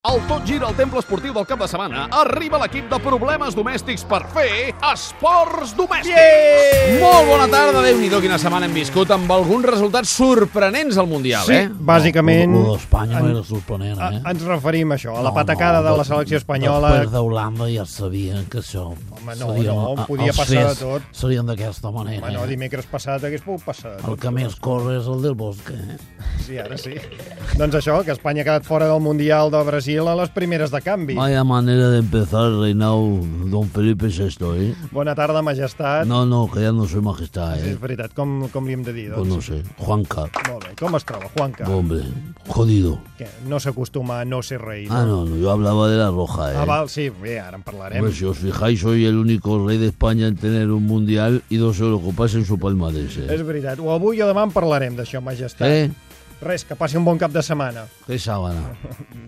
El tot gira al temple esportiu del cap de setmana. Arriba l'equip de problemes domèstics per fer esports domèstics. Yeah! Molt bona tarda, déu nhi quina setmana hem viscut amb alguns resultats sorprenents al Mundial, Sí, eh? bàsicament Lo, lo d'Espanya en- no era sorprenent, a, eh? ens referim a això, a la patacada de la selecció espanyola. Després d'Holanda ja sabien que això... Home, no, seria- no, a- podia els passar de fets tot. Serien d'aquesta manera. Home, eh? no, dimecres passat hagués pogut passar. de El tot. que més corre és el del Bosque, eh? Sí, ara sí. doncs això, que Espanya ha quedat fora del Mundial de Brasil a les primeres de canvi. Vaya manera d'empezar el reinado Don Felipe VI, eh? Bona tarda, majestat. No, no, que ja no soy majestad, Sí, eh? és veritat, com, com li hem de dir, Pues doncs? no sé, Juanca, Molt bé, com es troba, Juanca? hombre, jodido. Que no s'acostuma a no ser rei, Ah, no, no, yo hablaba de la roja, eh? Ah, val, sí, bé, ara en parlarem. Hombre, si os fijáis, soy el único rey de España en tener un mundial y dos Eurocopas en su palmarés, És eh? veritat, o avui o demà en parlarem d'això, majestat. ¿Eh? Res, que passi un bon cap de setmana. Qué sábana.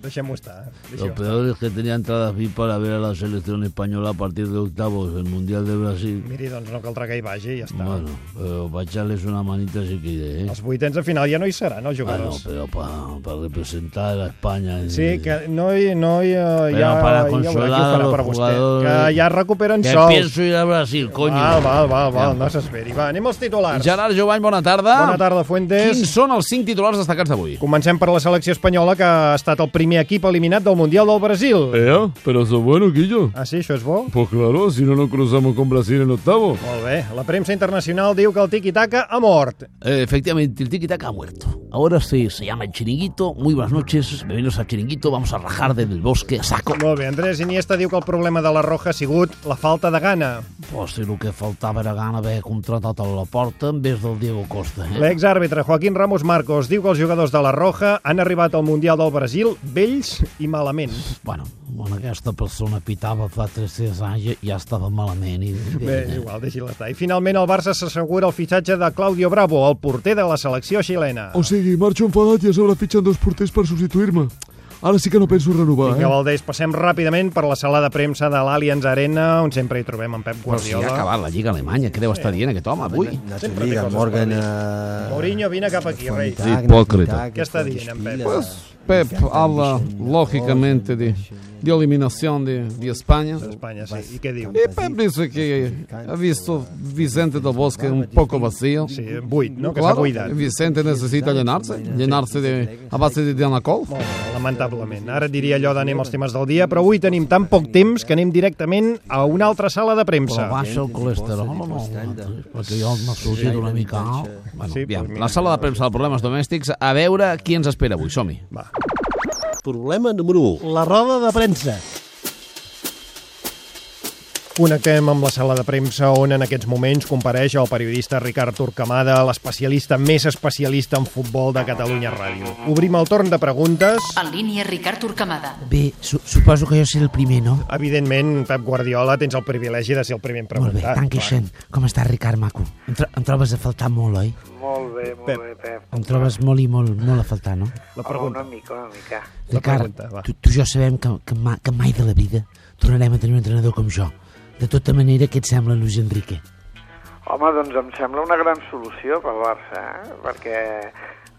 Deixem-ho estar. Lo Deixem peor es que tenía entradas VIP para ver a la selección española a partir de octavos del Mundial de Brasil. Miri, doncs no caldrà que hi vagi, ja està. Bueno, pero para echarles una manita si quiere, ¿eh? Els vuitens de final ja no hi seran, Ah, no, els jugadors. pero para, representar a España. eh, Sí, que no hi... No hi eh, ja, para ja veurà qui ho farà consolar per a los vostè. jugadors. Que ja recuperen que sols. pienso ir a Brasil, coño. Val, val, val, val, no s'esperi. Ah, Va, anem als titulars. Gerard Jovany, bona tarda. Bona tarda, Fuentes. Quins són els cinc titulars destacats d'avui? Comencem per la selecció espanyola, que ha estat el primer equip eliminat del Mundial del Brasil. Eh, pero eso es bueno, Guillo. Ah, sí, això és bo? Pues claro, si no, no cruzamos con Brasil en octavo. Molt bé. La premsa internacional diu que el tiki-taka ha mort. Eh, efectivamente, el tiki-taka ha muerto. Ahora sí, se llama el chiringuito. Muy buenas noches, bienvenidos al chiringuito. Vamos a rajar desde el bosque a saco. Molt bé. Andrés Iniesta diu que el problema de la Roja ha sigut la falta de gana. Pues si el que faltava era gana haver contratat a la porta en vez del Diego Costa, eh? Mm. L'exàrbitre Joaquín Ramos Marcos diu que els jugadors de la Roja han arribat al Mundial del Brasil vells i malament. Bueno, quan aquesta persona pitava fa 300 anys ja- ja estava malament. I... Bé, és igual, deixi estar. I finalment el Barça s'assegura el fitxatge de Claudio Bravo, el porter de la selecció xilena. O sigui, marxo enfadat i a sobre fitxen dos porters per substituir-me. Ara sí que no penso renovar, Vinga, eh? Valdés, passem ràpidament per la sala de premsa de l'Allianz Arena, on sempre hi trobem en Pep Però si ja ha Guardiola. acabat la Lliga Alemanya, què deu estar dient aquest home avui? Sempre té coses per dir. Mourinho, vine cap aquí, rei. Hipòcrita. Què està dient en Pep? Pep habla, lógicamente, de, de eliminación de, de España. Espanya, sí. I què diu? Y Pep dice que ha visto Vicente del Bosque un poco vacío. Sí, buit, no? Que s'ha Claro, buidat. Vicente necesita llenarse, llenarse de, a base de Dianacol. Molt bé, lamentablement. Ara et diria allò d'anem als temes del dia, però avui tenim tan poc temps que anem directament a una altra sala de premsa. Però baixa el colesterol o no? Perquè jo m'ha sortit una mica alt. Bueno, Sí, aviam, pues mira. la sala de premsa de problemes domèstics, a veure qui ens espera avui, som-hi. Va. Problema número 1. La roda de premsa. Connectem amb la sala de premsa on en aquests moments compareix el periodista Ricard Turcamada, l'especialista més especialista en futbol de Catalunya Ràdio. Obrim el torn de preguntes. En línia Ricard Turcamada. Bé, su suposo que jo seré el primer, no? Evidentment, Pep Guardiola, tens el privilegi de ser el primer en Molt bé, preguntar. tant que Clar. sent. Com està, Ricard, maco? Em, tro em trobes a faltar molt, oi? Molt bé, molt bé, Pep. Em trobes molt i molt, molt a faltar, no? La Home, una pregunta. mica, una mica. La Ricard, pregunta, va. tu, tu i jo sabem que, que, ma, que mai de la vida tornarem a tenir un entrenador com jo. De tota manera, què et sembla, Luis Enrique? Home, doncs em sembla una gran solució pel Barça, eh? perquè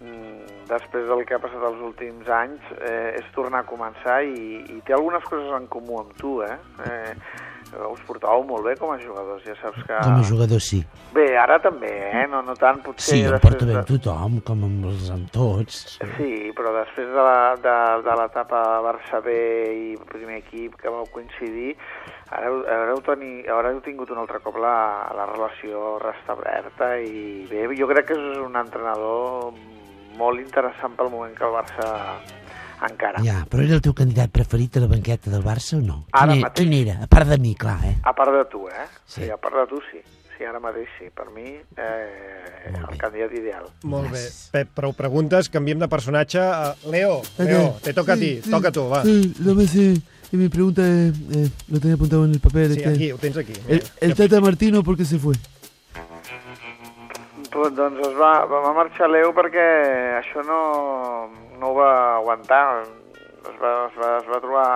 mm, després del que ha passat els últims anys eh, és tornar a començar i, i té algunes coses en comú amb tu, eh? eh us portàveu molt bé com a jugadors, ja saps que... Com a jugador, sí. Bé, ara també, eh? No, no tant, potser... Sí, em després porto bé de- amb tothom, com amb, els, amb tots. Sí, però després de la- de- de l'etapa Barça B i primer equip que vau coincidir, ara heu- haureu, tenir, haureu tingut un altre cop la, la relació restablerta i bé, jo crec que és un entrenador molt interessant pel moment que el Barça encara. Ja, però era el teu candidat preferit a la banqueta del Barça o no? quin, Ara era, mateix. quin era? A part de mi, clar, eh? A part de tu, eh? Sí. sí a part de tu sí. Sí, ara mateix sí. Per mi, eh, el candidat ideal. Molt bé. Pep, prou preguntes, canviem de personatge. a Leo, Leo, te toca a ti, toca a tu, va. Sí, lo más, eh, y mi pregunta es, eh, lo tenía apuntado en el papel. Sí, este, aquí, ho tens aquí. El, Eh. Mira. el Tata Martino, ¿por qué se fue? Però, doncs es va, va marxar Leo perquè això no, no ho va aguantar. Es va, es, va, es va trobar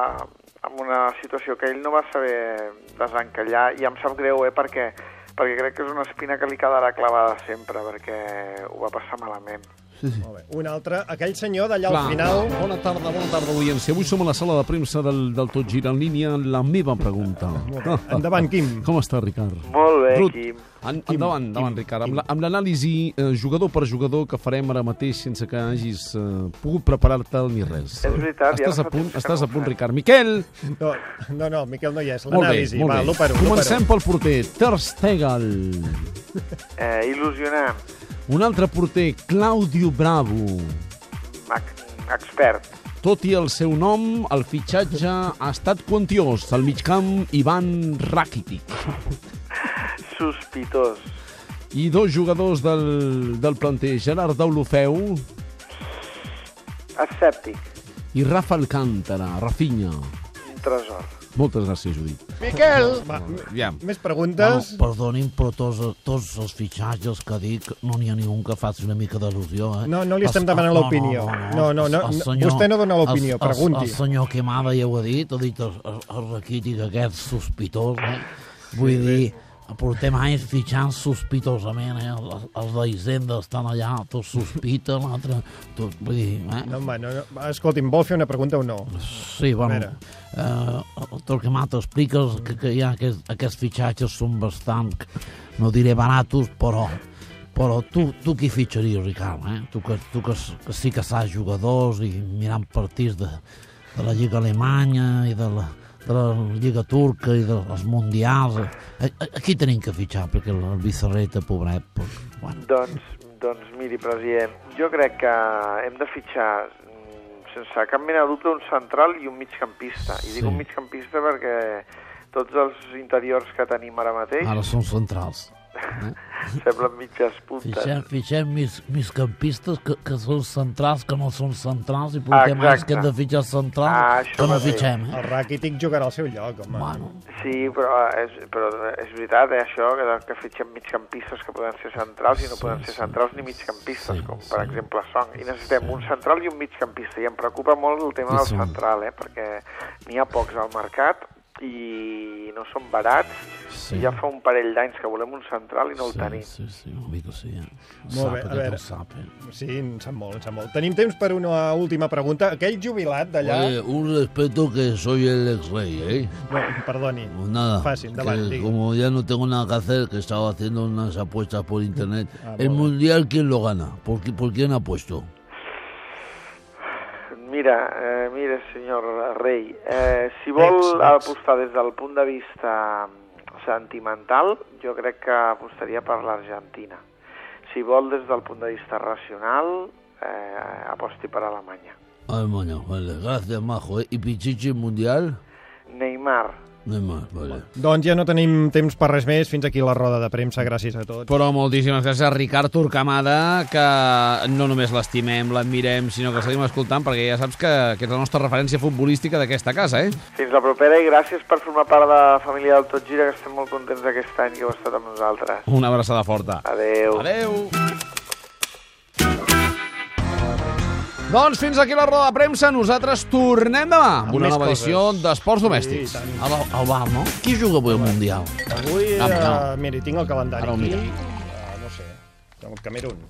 amb una situació que ell no va saber desencallar i em sap greu, eh, perquè, perquè crec que és una espina que li quedarà clavada sempre, perquè ho va passar malament. Sí, sí. Molt bé. Un altre, aquell senyor d'allà al Clar. final... Bona tarda, bona tarda, audiència. Avui som a la sala de premsa del, del Tot Gira en línia. La meva pregunta. Ah, Endavant, Quim. Com està, Ricard? Molt bé, Brut. Quim. En, endavant, endavant, Ricard. Amb la- Amb l'anàlisi eh, jugador per jugador que farem ara mateix sense que hagis eh, pogut preparar-te ni res. És veritat, ja Estàs fa a punt, temps que estàs no a ho punt, fem. Ricard. Miquel, No, no, no, Miquel no hi és. molt bé, L'anàlisi, molt va, bé. l'1 per 1. Comencem pel porter, Ter Stegen. Eh, il·lusionant, Un altre porter, Claudio Bravo. mac, expert. Tot i el seu nom, el fitxatge ha estat quantiós. Al migcamp, Ivan Rakitic. Sospitós. I dos jugadors del, del planter, Gerard Daulofeu Escèptic. i Rafa Alcántara, Rafinha. Un tresor. Moltes gràcies, Judit. Miquel! Va, Aviam. més preguntes? Perdonin, però tots, tots els fitxatges que dic no n'hi ha ningú que faci una mica d'al·lusió, eh? No, no li estem demanant no, l'opinió. No, No, no, no, no, no, vostè no dona l'opinió, el- el- pregunti. El, senyor Quemada ja ho ha dit, ha dit el, el, el raquític aquest sospitós, eh? Vull dir, portem anys fitxant sospitosament, eh? Els, els d'Hisenda estan allà, tots sospiten, l'altre... Tot, vull dir, eh? No, home, no, no. Va, Escolti'm, vol fer una pregunta o no? Sí, bueno, Mira. eh, el Torquemata explica que, que hi ha aquest, aquests fitxatges són bastant, no diré baratos, però, però tu, tu qui fitxaries, Ricard? Eh? Tu, que, tu que, s- que sí que saps jugadors i mirant partits de, de la Lliga Alemanya i de la, de la Lliga Turca i dels Mundials. eh? A, a, aquí tenim que fitxar, perquè el Bizarreta, pobret, pues, bueno, Doncs, doncs miri, president, jo crec que hem de fitxar mm, sense cap mena de dubte un central i un migcampista. I dic un migcampista perquè tots els interiors que tenim ara mateix ara són centrals. semblen mitges puntes. Fixem, fixem mis, migcampistes que, que són centrals, que no són centrals, i portem Exacte. anys que hem de fitxar central, Ah, això que no va bé. fitxem, eh? El Rakitic jugarà al seu lloc, home. Bueno, Sí, però eh, és, però és veritat, eh, això, que, que fitxem migcampistes que poden ser centrals i no poden ser centrals ni migcampistes, com per exemple Song. I necessitem un central i un migcampista. I em preocupa molt el tema del central, eh, perquè n'hi ha pocs al mercat i no són barats. sí. I ja fa un parell d'anys que volem un central i no el tenim. Sí, sí, una mica sí, eh? Molt Molt sap, bé, a aquest veure. el sap, eh? Sí, em sap molt, em sap molt. Tenim temps per una última pregunta. Aquell jubilat d'allà... Oye, un respeto que soy el ex-rey, ¿eh? No, perdoni. Pues nada. Fácil, que dale, diga. como ya no tengo nada que hacer, que estaba haciendo unas apuestas por internet. Ah, el bueno. mundial, ¿quién lo gana? ¿Por, qui- por quién apuesto? Mira, eh, mira, senyor Rei, eh, si vol Ex, ex. apostar des del punt de vista mm, sentimental, jo crec que apostaria per l'Argentina. Si vol des del punt de vista racional, eh, aposti per Alemanya. Ay, mañana, vale. Gracias, majo. ¿eh? ¿Y Pichichi mundial? Neymar, No hay más, vale. Doncs ja no tenim temps per res més. Fins aquí la roda de premsa. Gràcies a tots. Però moltíssimes gràcies a Ricard Turcamada, que no només l'estimem, l'admirem, sinó que el seguim escoltant, perquè ja saps que, que és la nostra referència futbolística d'aquesta casa, eh? fins la propera i gràcies per formar part de la família del Tot Gira, que estem molt contents d'aquest any que heu estat amb nosaltres. Una abraçada forta. Adeu. Adeu. Doncs fins aquí la roda de premsa. Nosaltres tornem demà amb una més nova edició coses. d'Esports Domèstics. Al, al bar, no? Qui juga avui al Mundial? Avui, Ah, eh, no. miri, tinc el calendari Ara ho aquí. mirem. Eh, no sé, el Camerún.